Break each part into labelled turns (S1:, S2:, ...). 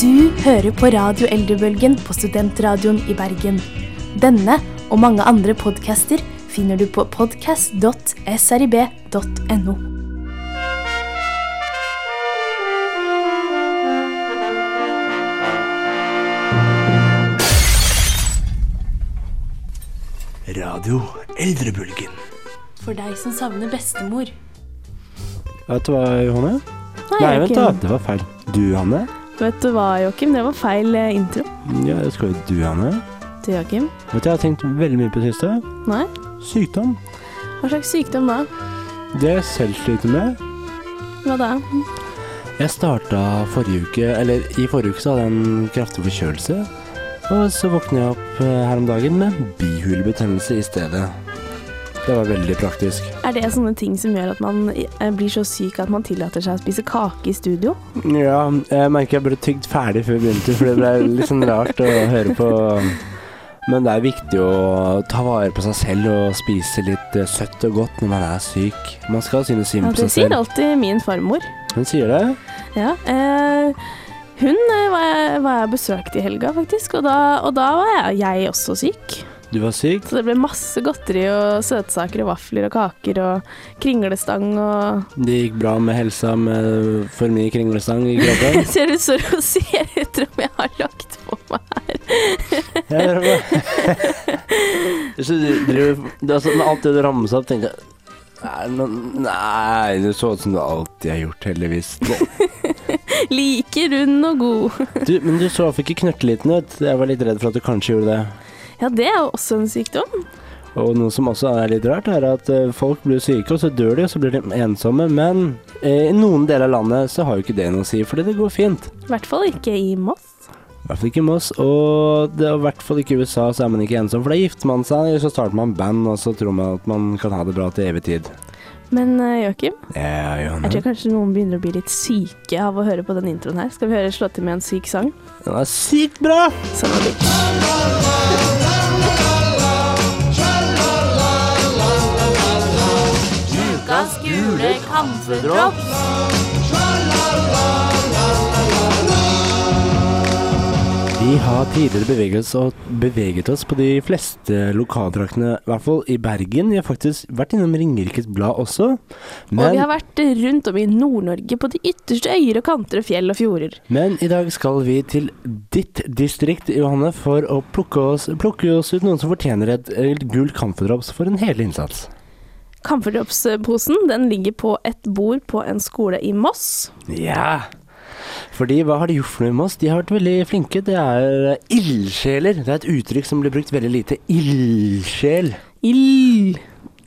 S1: Du hører på Radio Eldrebølgen på Studentradioen i Bergen. Denne og mange andre podcaster finner du på podcast.srib.no.
S2: Radio Eldrebølgen.
S1: For deg som savner bestemor.
S2: Vet du hva, Johanne?
S3: Nei,
S2: Nei,
S3: Joakim.
S2: vent da, det var feil. Du, Hanne?
S3: Vet du hva, Joakim? Det var feil eh, intro
S2: Ja, det skal jo du, Hanne.
S3: til Joakim.
S2: Vet du, jeg har tenkt veldig mye på det siste.
S3: Nei?
S2: Sykdom.
S3: Hva slags sykdom da?
S2: Det jeg selv sliter med
S3: Hva da?
S2: Jeg starta forrige uke, eller i forrige uke så hadde jeg en kraftig forkjølelse. Og så våkna jeg opp eh, her om dagen med bihulebetennelse i stedet. Det var veldig praktisk.
S3: Er det sånne ting som gjør at man eh, blir så syk at man tillater seg å spise kake i studio?
S2: Ja, jeg merker jeg burde tygd ferdig før vi begynte, for det ble litt sånn rart å høre på. Men det er viktig å ta vare på seg selv og spise litt eh, søtt og godt når man er syk. Man skal synes synd
S3: Ja,
S2: på
S3: det
S2: seg
S3: sier
S2: selv.
S3: alltid min farmor.
S2: Hun sier det.
S3: Ja. Eh, hun eh, var jeg, var jeg besøkt i helga, faktisk, og da, og da var jeg, jeg også syk.
S2: Du var syk.
S3: Så det ble masse godteri og søtsaker og vafler og kaker og kringlestang og
S2: Det gikk bra med helsa med for mye kringlestang i kroppen.
S3: Ser du så rosé ut om jeg har lagt på meg?
S2: Jeg hører på. Så du driver det er sånn, Alt det du rammer opp, tenker jeg Nei, nå- nei, det så ut som du alltid har gjort, heldigvis. Det,
S3: Like rund og god.
S2: Du, men du så ikke knørteliten ut. Jeg var litt redd for at du kanskje gjorde det.
S3: Ja, det er jo også en sykdom.
S2: Og noe som også er litt rart, er at eh, folk blir syke, og så dør de, og så blir de ensomme. Men eh, i noen deler av landet så har jo ikke det noe å si, fordi det går fint.
S3: I hvert fall ikke i Moss.
S2: I hvert fall ikke i Moss, og det, og i hvert fall ikke i USA, så er man ikke ensom. For da gifter man seg, eller så starter man band, og så tror man at man kan ha det bra til evig tid.
S3: Men eh, Joakim,
S2: Ja,
S3: jeg
S2: Johanne.
S3: tror kanskje noen begynner å bli litt syke av å høre på den introen her. Skal vi høre slå til med en syk sang?
S2: Den er sykt bra!
S3: Sånn er det.
S1: Ukas gule kampedrops.
S2: Vi har tidligere beveget oss, og beveget oss på de fleste lokaldraktene, i hvert fall i Bergen. Vi har faktisk vært innom Ringerikes Blad også.
S3: Og vi
S2: Men,
S3: har vært rundt om i Nord-Norge, på de ytterste øyer og kanter og fjell og fjorder.
S2: men i dag skal vi til ditt distrikt, Johanne, for å plukke oss, plukke oss ut noen som fortjener et eh, gult kamferdrops for en hel innsats.
S3: Kamferdroppsposen den ligger på et bord på en skole i Moss.
S2: Ja! Fordi hva har de gjort for noe med oss? De har vært veldig flinke. Det er eh, ildsjeler. Det er et uttrykk som blir brukt veldig lite. Ildsjel.
S3: Ild.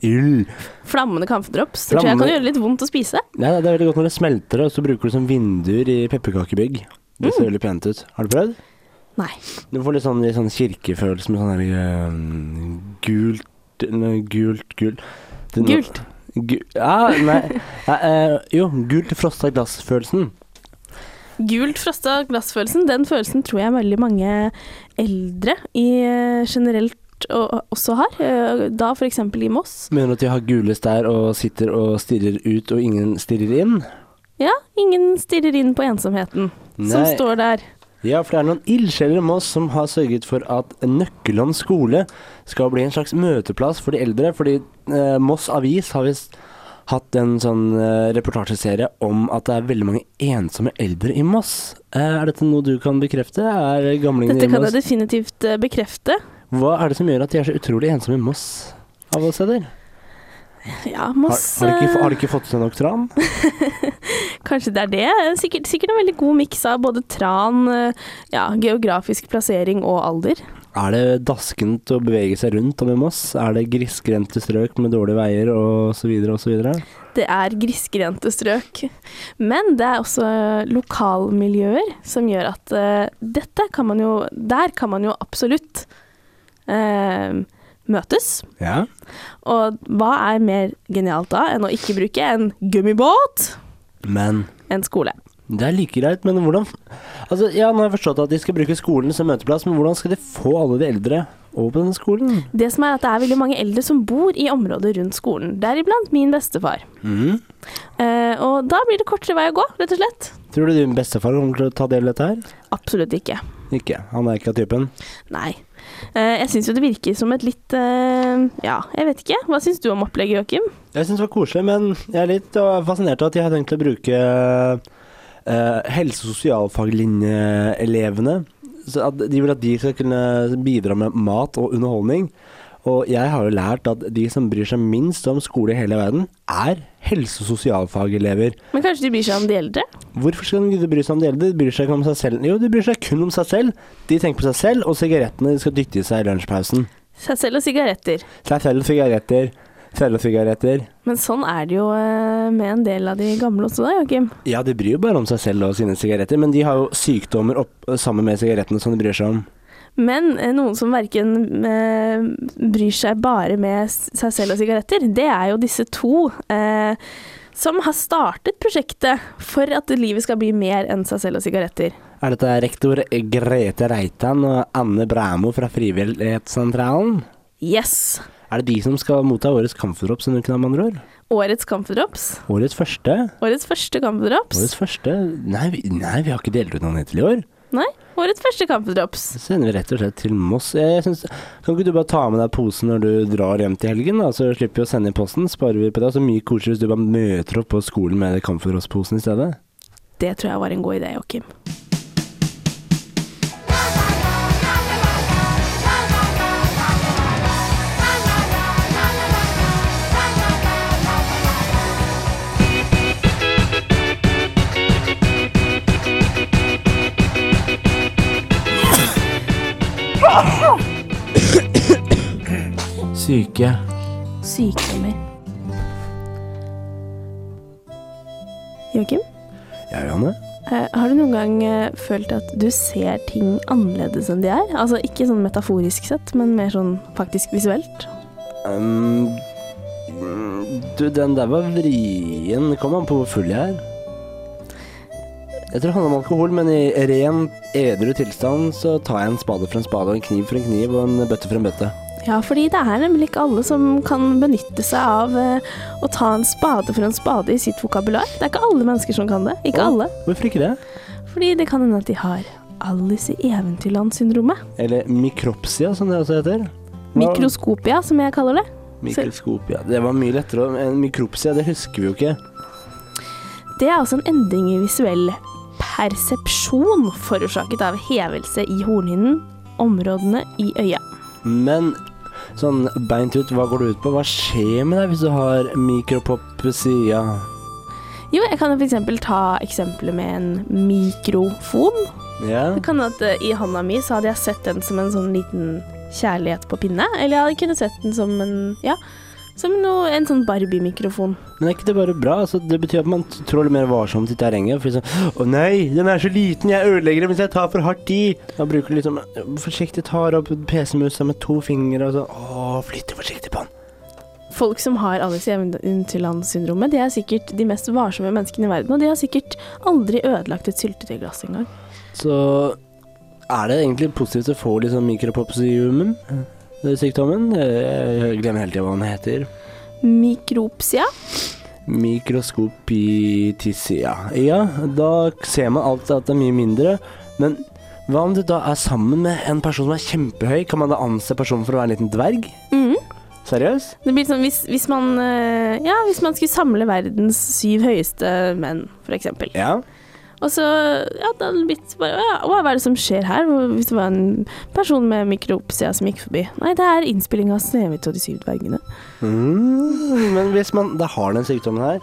S2: Ild.
S3: Flammende kamferdrops. Det tror jeg kan
S2: Flammende-
S3: gjøre litt vondt å spise.
S2: Nei, nei, det er veldig godt når det smelter, og så bruker du som vinduer i pepperkakebygg. Det ser veldig pent ut. Har du prøvd?
S3: Mm. Nei.
S2: Du får litt sånn, litt sånn kirkefølelse med sånn her øhm, gult nei, Gult, gult Det er noe-
S3: Gult.
S2: Gu, ja, nei. nei eh, jo, gult frosta glass-følelsen.
S3: Gult frosta glassfølelsen, den følelsen tror jeg veldig mange eldre i eh, generelt og- også har. eh, Da f.eks. i Moss.
S2: Mener du at de har gule stær og sitter og stirrer ut, og ingen stirrer inn?
S3: Ja, ingen stirrer inn på ensomheten som
S2: Nei.
S3: står der.
S2: Ja, for det er noen ildsjeler med oss som har sørget for at Nøkkelhånd skole skal bli en slags møteplass for de eldre. Fordi eh, Moss Avis har visst hatt en sånn eh, reportasjeserie om at det er veldig mange ensomme eldre i Moss. Eh, er dette noe du kan bekrefte? Er gamlingene
S3: Dette
S2: i
S3: kan
S2: Moss
S3: jeg definitivt eh, bekrefte.
S2: Hva er det som gjør at de er så utrolig ensomme i Moss? Av alle steder.
S3: Ja,
S2: Har,
S3: Moss
S2: har, de ikke,
S3: eh,
S2: har de ikke fått seg nok tran?
S3: Kanskje det er det. Sikkert, sikkert en veldig god miks av både tran, eh, ja, geografisk plassering og alder.
S2: Er det daskent å bevege seg rundt om i Moss? Er det grisgrendte strøk med dårlige veier og så videre og så videre?
S3: Det er grisgrendte strøk. Men det er også lokalmiljøer som gjør at eh, dette kan man jo Der kan man jo absolutt eh, møtes.
S2: Ja.
S3: Og hva er mer genialt da enn å ikke bruke en gummibåt,
S2: Men
S3: en skole?
S2: Det er like greit, men hvordan Altså, ja, nå har jeg forstått at de skal bruke skolen som møteplass, men hvordan skal de få alle de eldre Og på denne skolen.
S3: Det som er at det er veldig mange eldre som bor i området rundt skolen, deriblant min bestefar.
S2: Mhm.
S3: Eh, og da blir det kortere vei å gå, rett og slett.
S2: Tror du din bestefar kommer til å ta del i dette her?
S3: Absolutt ikke.
S2: Ikke. Han er ikke av typen.
S3: Nei. Eh, jeg syns jo det virker som et litt eh, Ja, jeg vet ikke. Hva syns du om opplegget, Joakim?
S2: Jeg syns det var koselig, men jeg er litt øh, fascinert av at de har tenkt å bruke øh, helse- og sosialfaglinjeelevene. Så at de vil at de skal kunne bidra med mat og underholdning. Og jeg har jo lært at de som bryr seg minst om skole i hele verden, er helse- og sosialfagelever.
S3: Men kanskje de bryr seg om de eldre?
S2: Hvorfor skal de gidde bry seg om de eldre? De bryr seg ikke om seg selv. Jo, de bryr seg kun om seg selv. De tenker på seg selv og sigarettene de skal dytte i seg i lunsjpausen.
S3: Seg selv og sigaretter.
S2: Seg selv og sigaretter. Selv og sigaretter.
S3: Men sånn er det jo eh, med en del av de gamle også da, Joakim.
S2: Ja, de bryr jo bare om seg selv og sine sigaretter, men de har jo sykdommer opp, sammen med sigarettene som de bryr seg om.
S3: Men eh, noen som verken eh, bryr seg bare med s- seg selv og sigaretter, det er jo disse to eh, som har startet prosjektet for at livet skal bli mer enn seg selv og sigaretter.
S2: Er dette rektor Grete Reitan og Anne Bræmo fra Frivillighetssentralen?
S3: Yes!
S2: Er det de som skal motta årets kampfdropp, som du kunne ha med andre ord?
S3: Årets kampdrops.
S2: Årets første?
S3: Årets første kampdrops.
S2: Årets første? Nei, vi- nei, vi har ikke delt ut noen hittil i år.
S3: Nei, årets første kampdrops.
S2: Så sender vi rett og slett til Moss. Jeg synes, kan ikke du bare ta med deg posen når du drar hjem til helgen, da? så slipper vi å sende i posten? Sparer vi på det? Så mye koseligere hvis du bare møter opp på skolen med kampfdroppsposen i stedet.
S3: Det tror jeg var en god idé, Joakim.
S2: Syke.
S3: Sykdommer. Joakim,
S2: Ja, Johanne?
S3: eh, har du noen gang eh, følt at du ser ting annerledes enn de er? Altså ikke sånn metaforisk sett, men mer sånn faktisk visuelt.
S2: Um, mm, du, den der var vrien. Kom an på hvor full jeg er. Jeg tror det handler om alkohol, men i ren, edru tilstand så tar jeg en spade for en spade, og en kniv for en kniv, og en bøtte for en bøtte.
S3: Ja, fordi det er nemlig ikke alle som kan benytte seg av eh, å ta en spade for en spade i sitt vokabular. Det er ikke alle mennesker som kan det. Ikke
S2: Å.
S3: alle.
S2: Hvorfor ikke det?
S3: Fordi det kan hende at de har Alice i Eventyrland-syndromet.
S2: Eller mikropsia, som det også heter. Hva-
S3: Mikroskopia, som jeg kaller det.
S2: Mikroskop, ja. Det var mye lettere. å- En mikropsia, det husker vi jo ikke.
S3: Det er altså en endring i visuell persepsjon forårsaket av hevelse i hornhinnen, områdene i øya.
S2: Men sånn beint ut, hva går det ut på? Hva skjer med deg hvis du har mikropopsia?
S3: Jo, jeg kan f.eks. ta eksempelet med en mikrofon.
S2: Ja.
S3: Det kan at eh, I hånda mi så hadde jeg sett den som en sånn liten kjærlighet på pinne. Eller jeg hadde kunnet sett den som en ja, som noe, en sånn Barbie-mikrofon.
S2: Men er ikke det bare bra? Altså, det betyr at man trår litt mer varsomt i terrenget. For liksom, å nei, den er så liten, jeg ødelegger det hvis jeg tar for hardt i. Da bruker du liksom forsiktig tar opp PC-musa med to fingre og sånn. Å, flytter forsiktig på den.
S3: Folk som har Alice i Eventyrland-syndromet, de er sikkert de mest varsomme menneskene i verden. Og de har sikkert aldri ødelagt et syltetøyglass engang.
S2: Så er det egentlig positivt å få litt sånn mikropopsiumum, den sykdommen. Jeg jeg glemmer hele tida hva den heter.
S3: Mikropsia.
S2: Mikroskopitisia. Ja, da ser man alltid at det er mye mindre. Men hva om du da er sammen med en person som er kjempehøy? Kan man da anse personen for å være en liten dverg?
S3: Mhm.
S2: Seriøst?
S3: Det blir sånn hvis, hvis man eh, Ja, hvis man skulle samle verdens syv høyeste menn, for eksempel.
S2: Ja.
S3: Og så Ja, da hadde det blitt bare ja, Hva er det som skjer her? Hvor- Hvis det var en person med mikropsia som gikk forbi. Nei, det er innspilling av 'Snehvit og de syv dvergene'.
S2: Mm, men hvis man da har den sykdommen her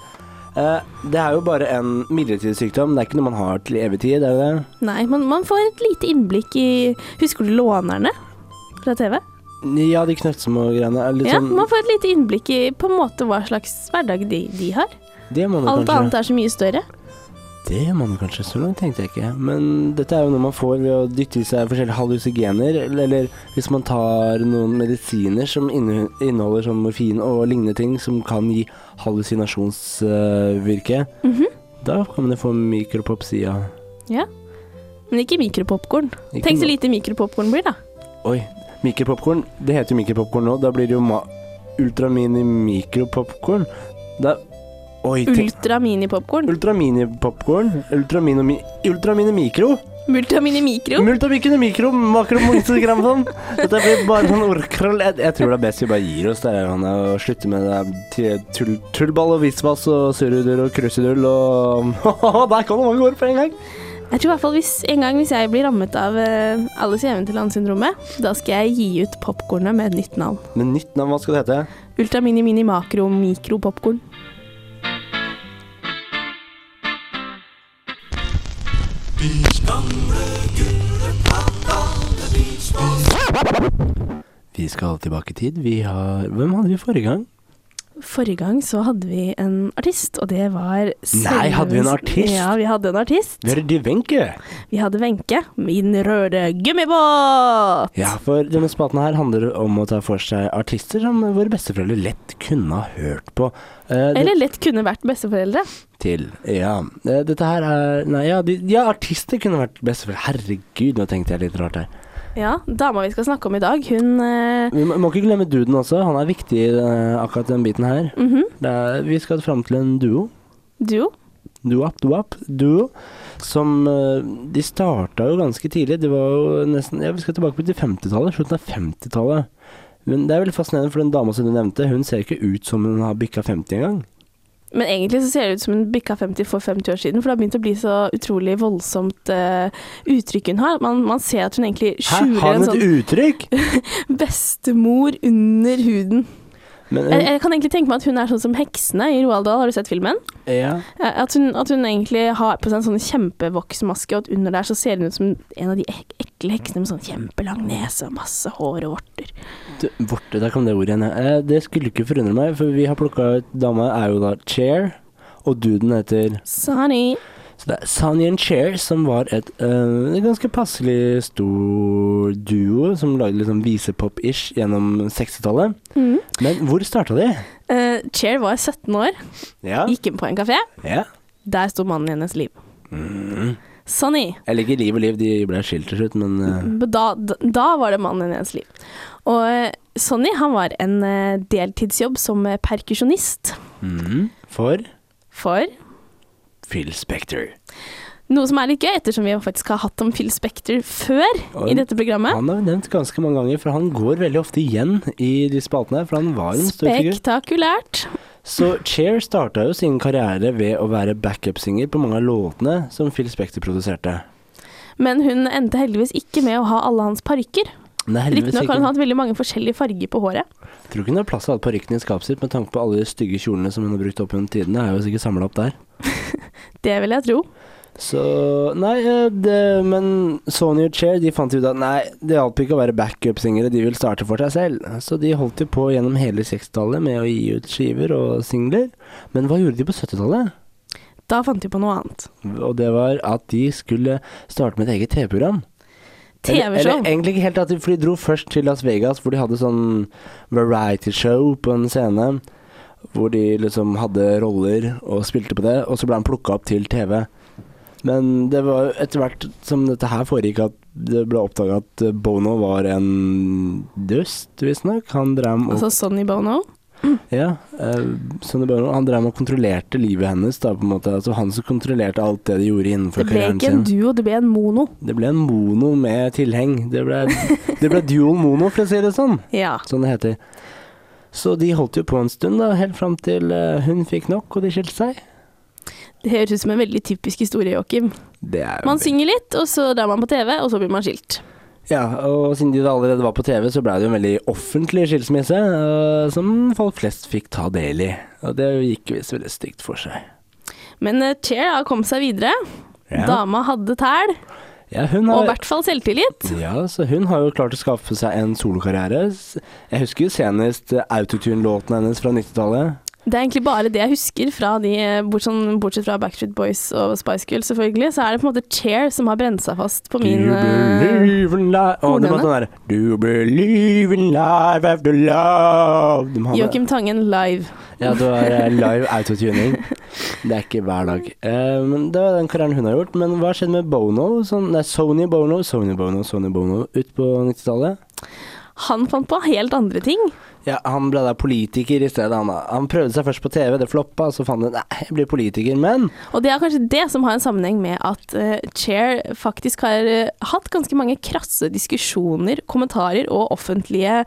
S2: eh, Det er jo bare en midlertidig sykdom. Det er ikke noe man har til evig tid, er det det?
S3: Nei, man, man får et lite innblikk i Husker du Lånerne fra TV?
S2: Ja, de knøttsmå greiene. er Litt
S3: Ja,
S2: sånn,
S3: man får et lite innblikk i på en måte hva slags hverdag de, de har.
S2: det må man
S3: Alt
S2: kanskje.
S3: annet er så mye større.
S2: Det gjør man kanskje, så langt tenkte jeg ikke. Men dette er jo noe man får ved å dytte i seg forskjellige hallusigener, eller, eller hvis man tar noen medisiner som inne- inneholder sånn morfin og lignende ting som kan gi hallusinasjonsvirke.
S3: Mhm.
S2: Da kan man jo få mikropopsia.
S3: Men ikke mikropopkorn.
S2: Ikke
S3: Tenk så
S2: no-
S3: lite mikropopkorn blir, da.
S2: Oi. Mikrepopkorn. Det heter jo mikrepopkorn nå. Da blir det jo ma ultramini-mikropopkorn. Da Oi, tenk
S3: Ultramini-popkorn.
S2: Ultramini-popkorn. Ultramini-mi... Ultramini-mikro.
S3: Ultramini-mikro.
S2: Multamikene mikro, makro, multigram sånn. Dette blir bare sånn ordkrøll. Jeg, jeg tror det er best vi bare gir oss der Johanne, og slutter med det der t- tull, tullball og visvas og surrudull og krusedull og Der kom det mange ord på en gang.
S3: Jeg tror i hvert fall hvis, en gang hvis jeg blir rammet av eh, Alice i Eventyrland-syndromet, da skal jeg gi ut popkornet med et nytt navn.
S2: Men nytt navn, hva skal det hete?
S3: Ultramini-mini-makro-mikro-popkorn.
S2: Vi skal tilbake i tid. Vi har Hvem hadde vi forrige gang?
S3: Forrige gang så hadde vi en artist, og det var
S2: Nei, hadde vi en artist?
S3: Ja, vi hadde en artist.
S2: Det er Dyvenke.
S3: Vi hadde Wenche, min røde gummibåt!
S2: Ja, for denne spaten her handler om å ta for seg artister som våre besteforeldre lett kunne ha hørt på. Eh, det-
S3: Eller lett kunne vært besteforeldre.
S2: til Ja, eh, dette her er Nei, ja, de, ja artister kunne vært best for Herregud, nå tenkte jeg litt rart her.
S3: Ja, dama vi skal snakke om i dag, hun eh,
S2: Vi må, må ikke glemme duden også. Han er viktig, eh, akkurat den biten her.
S3: mhm,
S2: Det er, vi skal fram til en duo.
S3: Duo.
S2: Duap, duap, duo. Som eh, De starta jo ganske tidlig. Det var jo nesten Ja, vi skal tilbake til 50-tallet. Slutten av 50-tallet. Men det er veldig fascinerende, for den dama som du nevnte, hun ser ikke ut som hun har bikka 50 engang.
S3: Men egentlig så ser det ut som hun bikka 50 for 50 år siden, for det har begynt å bli så utrolig voldsomt eh, uttrykk hun har. Man, man ser at hun egentlig
S2: Hæ,
S3: skjuler
S2: har
S3: en
S2: hun et
S3: sånn
S2: uttrykk?!
S3: bestemor under huden.
S2: Men,
S3: Jeg, jeg kan egentlig tenke meg at hun er sånn som heksene i Roald Dahl, har du sett filmen?
S2: eh, ja.
S3: Eh, At hun, at hun egentlig har på seg en sånn kjempevoksmaske, og at under der så ser hun ut som en av de ek ekle heksene med sånn kjempelang nese og masse hår og vorter.
S2: Du, Vorte, der kom det ordet igjen. ja. Eh, det skulle ikke forundre meg, for vi har plukka ut dama er jo da Chair, og duden heter
S3: Sorry.
S2: Så det er Sunny and Chair, som var et eh, ganske passelig stor duo som lagde liksom visepop-ish gjennom 60-tallet.
S3: Mm.
S2: Men hvor starta de?
S3: Eh, Cher var 17 år,
S2: Ja.
S3: gikk inn på en kafé.
S2: ja.
S3: Der sto mannen i hennes liv.
S2: Mm.
S3: Sunny.
S2: Jeg liker Liv og Liv, de ble skilt til slutt, men eh,
S3: Men Da, da- da var det mannen i hennes liv. Og eh, Sonny han var en eh, deltidsjobb som eh, perkusjonist
S2: mhm. For
S3: for
S2: Phil Spector.
S3: noe som er litt gøy, ettersom vi faktisk har hatt om Phil Spector før
S2: Oi.
S3: i dette programmet.
S2: Han har vi nevnt ganske mange ganger, for han går veldig ofte igjen i de spaltene her, for han var en stor figur.
S3: Spektakulært.
S2: Så Cher starta jo sin karriere ved å være backup-singer på mange av låtene som Phil Spector produserte.
S3: Men hun endte heldigvis ikke med å ha alle hans parykker.
S2: Nei, heldigvis
S3: Riktignok har hun
S2: ikke.
S3: hatt veldig mange forskjellige farger på håret.
S2: Tror ikke hun har plass til alle parykkene i skapet sitt, med tanke på alle de stygge kjolene som hun har brukt opp gjennom tidene. Er jo sikkert samla opp der.
S3: Det vil jeg tro.
S2: Så Nei, eh, det, men Sony og Cher de fant ut at nei, det hjalp ikke å være backup-singere, de ville starte for seg selv. Så de holdt jo på gjennom hele 60-tallet med å gi ut skiver og singler. Men hva gjorde de på 70-tallet?
S3: Da fant de på noe annet.
S2: Og det var at de skulle starte med et eget TV-program. Eller,
S3: TV-show.
S2: eller egentlig ikke helt, at de, for de dro først til Las Vegas, hvor de hadde sånn variety-show på en scene. Hvor de liksom hadde roller og spilte på det, og så ble han plukka opp til TV. Men det var jo etter hvert som dette her foregikk, at det ble oppdaga at eh, Bono var en dust, visstnok. Han drev med å
S3: Altså Sonny Bono.
S2: ja, eh, Sonny Bono han drev med og kontrollerte livet hennes. Da, på en måte. Altså, han som kontrollerte alt det de gjorde innenfor
S3: Det ble
S2: karrieren
S3: ikke en
S2: sin.
S3: duo, det ble en mono.
S2: Det ble en mono med tilheng. Det ble, det ble dual mono, for å si det sånn.
S3: Ja.
S2: Som det heter. Så de holdt jo på en stund, da, helt fram til eh, hun fikk nok og de skilte seg.
S3: Det høres ut som en veldig typisk historie, Joakim.
S2: Det er jo
S3: Man synger litt, og så drar man på TV, og så blir man skilt.
S2: Ja, og siden de da allerede var på TV, så blei det jo en veldig offentlig skilsmisse, eh, som folk flest fikk ta del i. Og det gikk visst veldig stygt for seg.
S3: Men eh, Cher har kommet seg videre. Dama hadde tæl,
S2: ja hun
S3: og i
S2: har,
S3: hvert fall selvtillit.
S2: Ja, så hun har jo klart å skaffe seg en solokarriere. S- Jeg husker jo senest eh, autotune-låten hennes fra 90-tallet.
S3: Det er egentlig bare det jeg husker fra de, eh, bort- sånn, bortsett fra Backstreet Boys og Spice Girls selvfølgelig, så er det på en måte Cher som har brent seg fast på min
S2: Do you
S3: eh,
S2: believe in life Å, de må ha den derre Do you believe in life after love De må ha det.
S3: Joakim Tangen live.
S2: Ja, det var eh, live autotuning. Det er ikke hver dag. Eh, men det var den karrieren hun har gjort. Men hva skjedde med Bono? Sånn, nei, Sony Bono, Sony Bono, Sony Bono ut på 90-tallet?
S3: Han fant på helt andre ting.
S2: Ja, han ble da politiker i stedet. Han, da. han prøvde seg først på TV, det floppa, så fant han ut Nei, jeg blir politiker, men
S3: Og det er kanskje det som har en sammenheng med at eh, Chair faktisk har eh, hatt ganske mange krasse diskusjoner, kommentarer og offentlige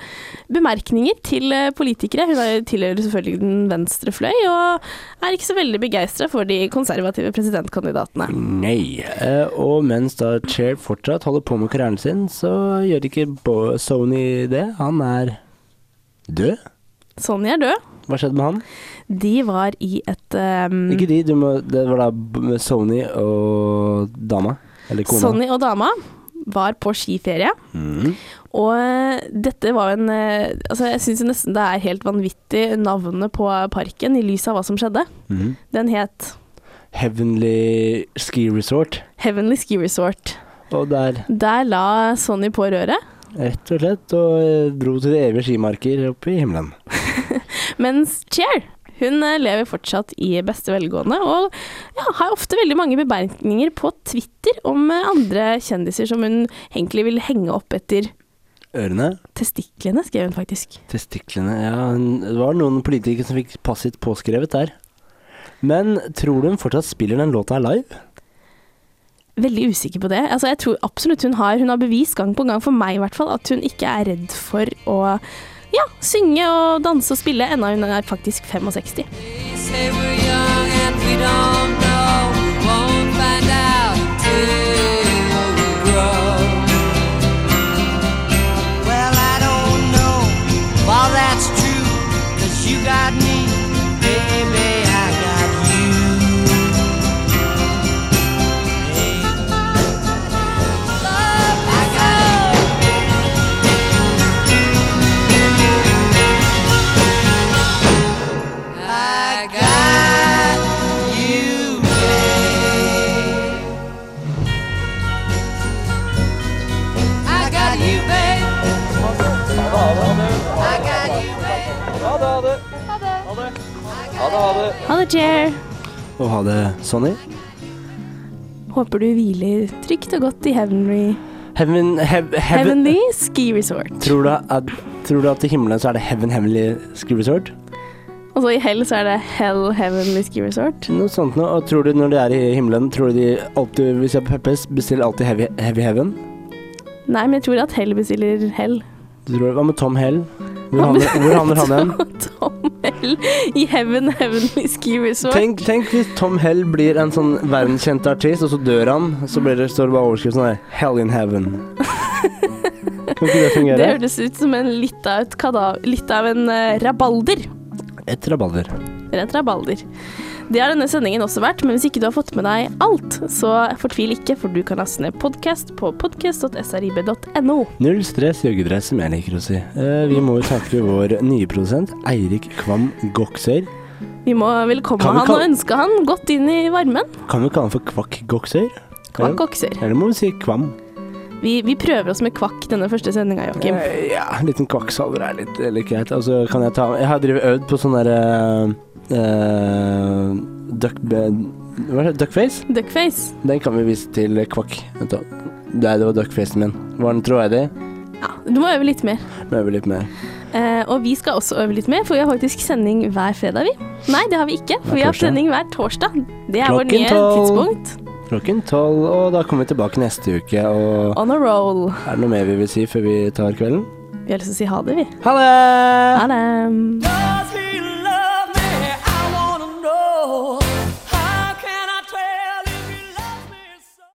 S3: bemerkninger til eh, politikere. Hun er- tilhører selvfølgelig den venstre fløy, og er ikke så veldig begeistra for de konservative presidentkandidatene.
S2: nei. Eh, og mens da Chair fortsatt holder på med karrieren sin, så gjør ikke Bo- Sony det. Han er død.
S3: Sonny er død.
S2: Hva skjedde med han?
S3: De var i et eh,
S2: Ikke de, du må, det var da B- Sony og dama. Eller kona.
S3: Sonny og dama var på skiferie.
S2: Mm.
S3: Og eh, dette var jo en eh, Altså, jeg syns nesten det er helt vanvittig navnet på parken, i lys av hva som skjedde.
S2: Mm.
S3: Den het
S2: Heavenly Ski Resort.
S3: Heavenly Ski Resort.
S2: Og der,
S3: Der la Sonny på røret,
S2: rett og slett, og eh, dro til de evige skimarker oppe i himmelen.
S3: mens Cher hun eh, lever fortsatt i beste velgående og ja, har ofte veldig mange bemerkninger på Twitter om eh, andre kjendiser som hun egentlig vil henge opp etter
S2: Ørene,
S3: testiklene, skrev hun faktisk.
S2: testiklene Ja, hun- det var noen politikere som fikk passet påskrevet der. Men tror du hun fortsatt spiller den låta live?
S3: Veldig usikker på det. Altså, jeg tror absolutt hun har Hun har bevist gang på gang, for meg i hvert fall, at hun ikke er redd for å ja, synge og danse og spille ennå hun er faktisk 65.
S4: They say we're young and we don't know. Won't find out till we grow. Well, I don't know if all that's true. 'cause you got me, baby, I got you. Love, I got I got you, babe. I got you, babe. I got you, babe.
S3: Ha det, Cher!
S2: Og ha det, Sonny.
S3: Håper du hviler trygt og godt i Heavenly,
S2: Heaven, hev, heaven.
S3: heavenly Ski Resort.
S2: Tror du, at, tror du at i himmelen så er det Heaven Heavenly Ski Resort?
S3: Og så Altså, i hell så er det Hell Heavenly Ski Resort.
S2: Noe sånt noe. Og tror du når de er i himmelen, tror du de alltid, hvis jeg er på Peppes, bestiller alltid Heavy, heavy Heaven?
S3: Nei, men jeg tror at Hell bestiller Hell.
S2: Du tror, hva med Tom Hell? Hvor havner, hvor havner han igjen?
S3: Tom Hell i Heaven Heavenly Ski Resort.
S2: Tenk, tenk hvis Tom Hell blir en sånn verdenskjent artist, og så dør han. Så blir det, står det bare overskrift sånn der Hell in heaven. Kan ikke det
S3: Det
S2: fungere?
S3: hørtes ut som en litt av, et kada litt av en eh, rabalder.
S2: Et rabalder.
S3: Rett rabalder. Det har denne sendingen også vært, men hvis ikke du har fått med deg alt, så fortvil ikke, for du kan laste ned podkast på podkast.srib.no.
S2: Null stress, joggedress, som jeg liker å si. Eh, vi må jo takke vår nye produsent, Eirik Kvam Goksøyr.
S3: Vi må velkomme
S2: Kan vi
S3: han
S2: kal-
S3: og ønske han godt inn i varmen.
S2: Kan vi kalle han for Kvakk Goksøyr?
S3: Kvakk
S2: Eller-
S3: okser.
S2: Eller må vi si Kvam?
S3: Vi, vi prøver oss med kvakk denne første sendinga, Joakim.
S2: Eh, ja, en liten kvakksalver er litt eller greit. Altså, kan jeg ta Jeg har drevet øvd på sånn derre uh, duck, Hva er det? Duckface?
S3: Duckface.
S2: Den kan vi vise til kvakk. Vent da. Nei, det var duckfacen min. Var den troverdig?
S3: Ja, du må øve litt mer.
S2: Må øve litt mer.
S3: Eh, og vi skal også øve litt mer, for vi har faktisk sending hver fredag, vi. Nei, det har vi ikke, for
S2: Hver
S3: vi har
S2: torsdag.
S3: sending hver torsdag. Det er vårt
S2: Klokken
S3: nye
S2: tolv.
S3: tidspunkt.
S2: Klokken tolv, og da kommer vi tilbake neste uke. Og
S3: On a roll.
S2: er det noe mer vi vil si før vi tar kvelden?
S3: Vi har lyst til å si ha det, vi.
S2: Ha det!
S3: Ha det.
S4: Does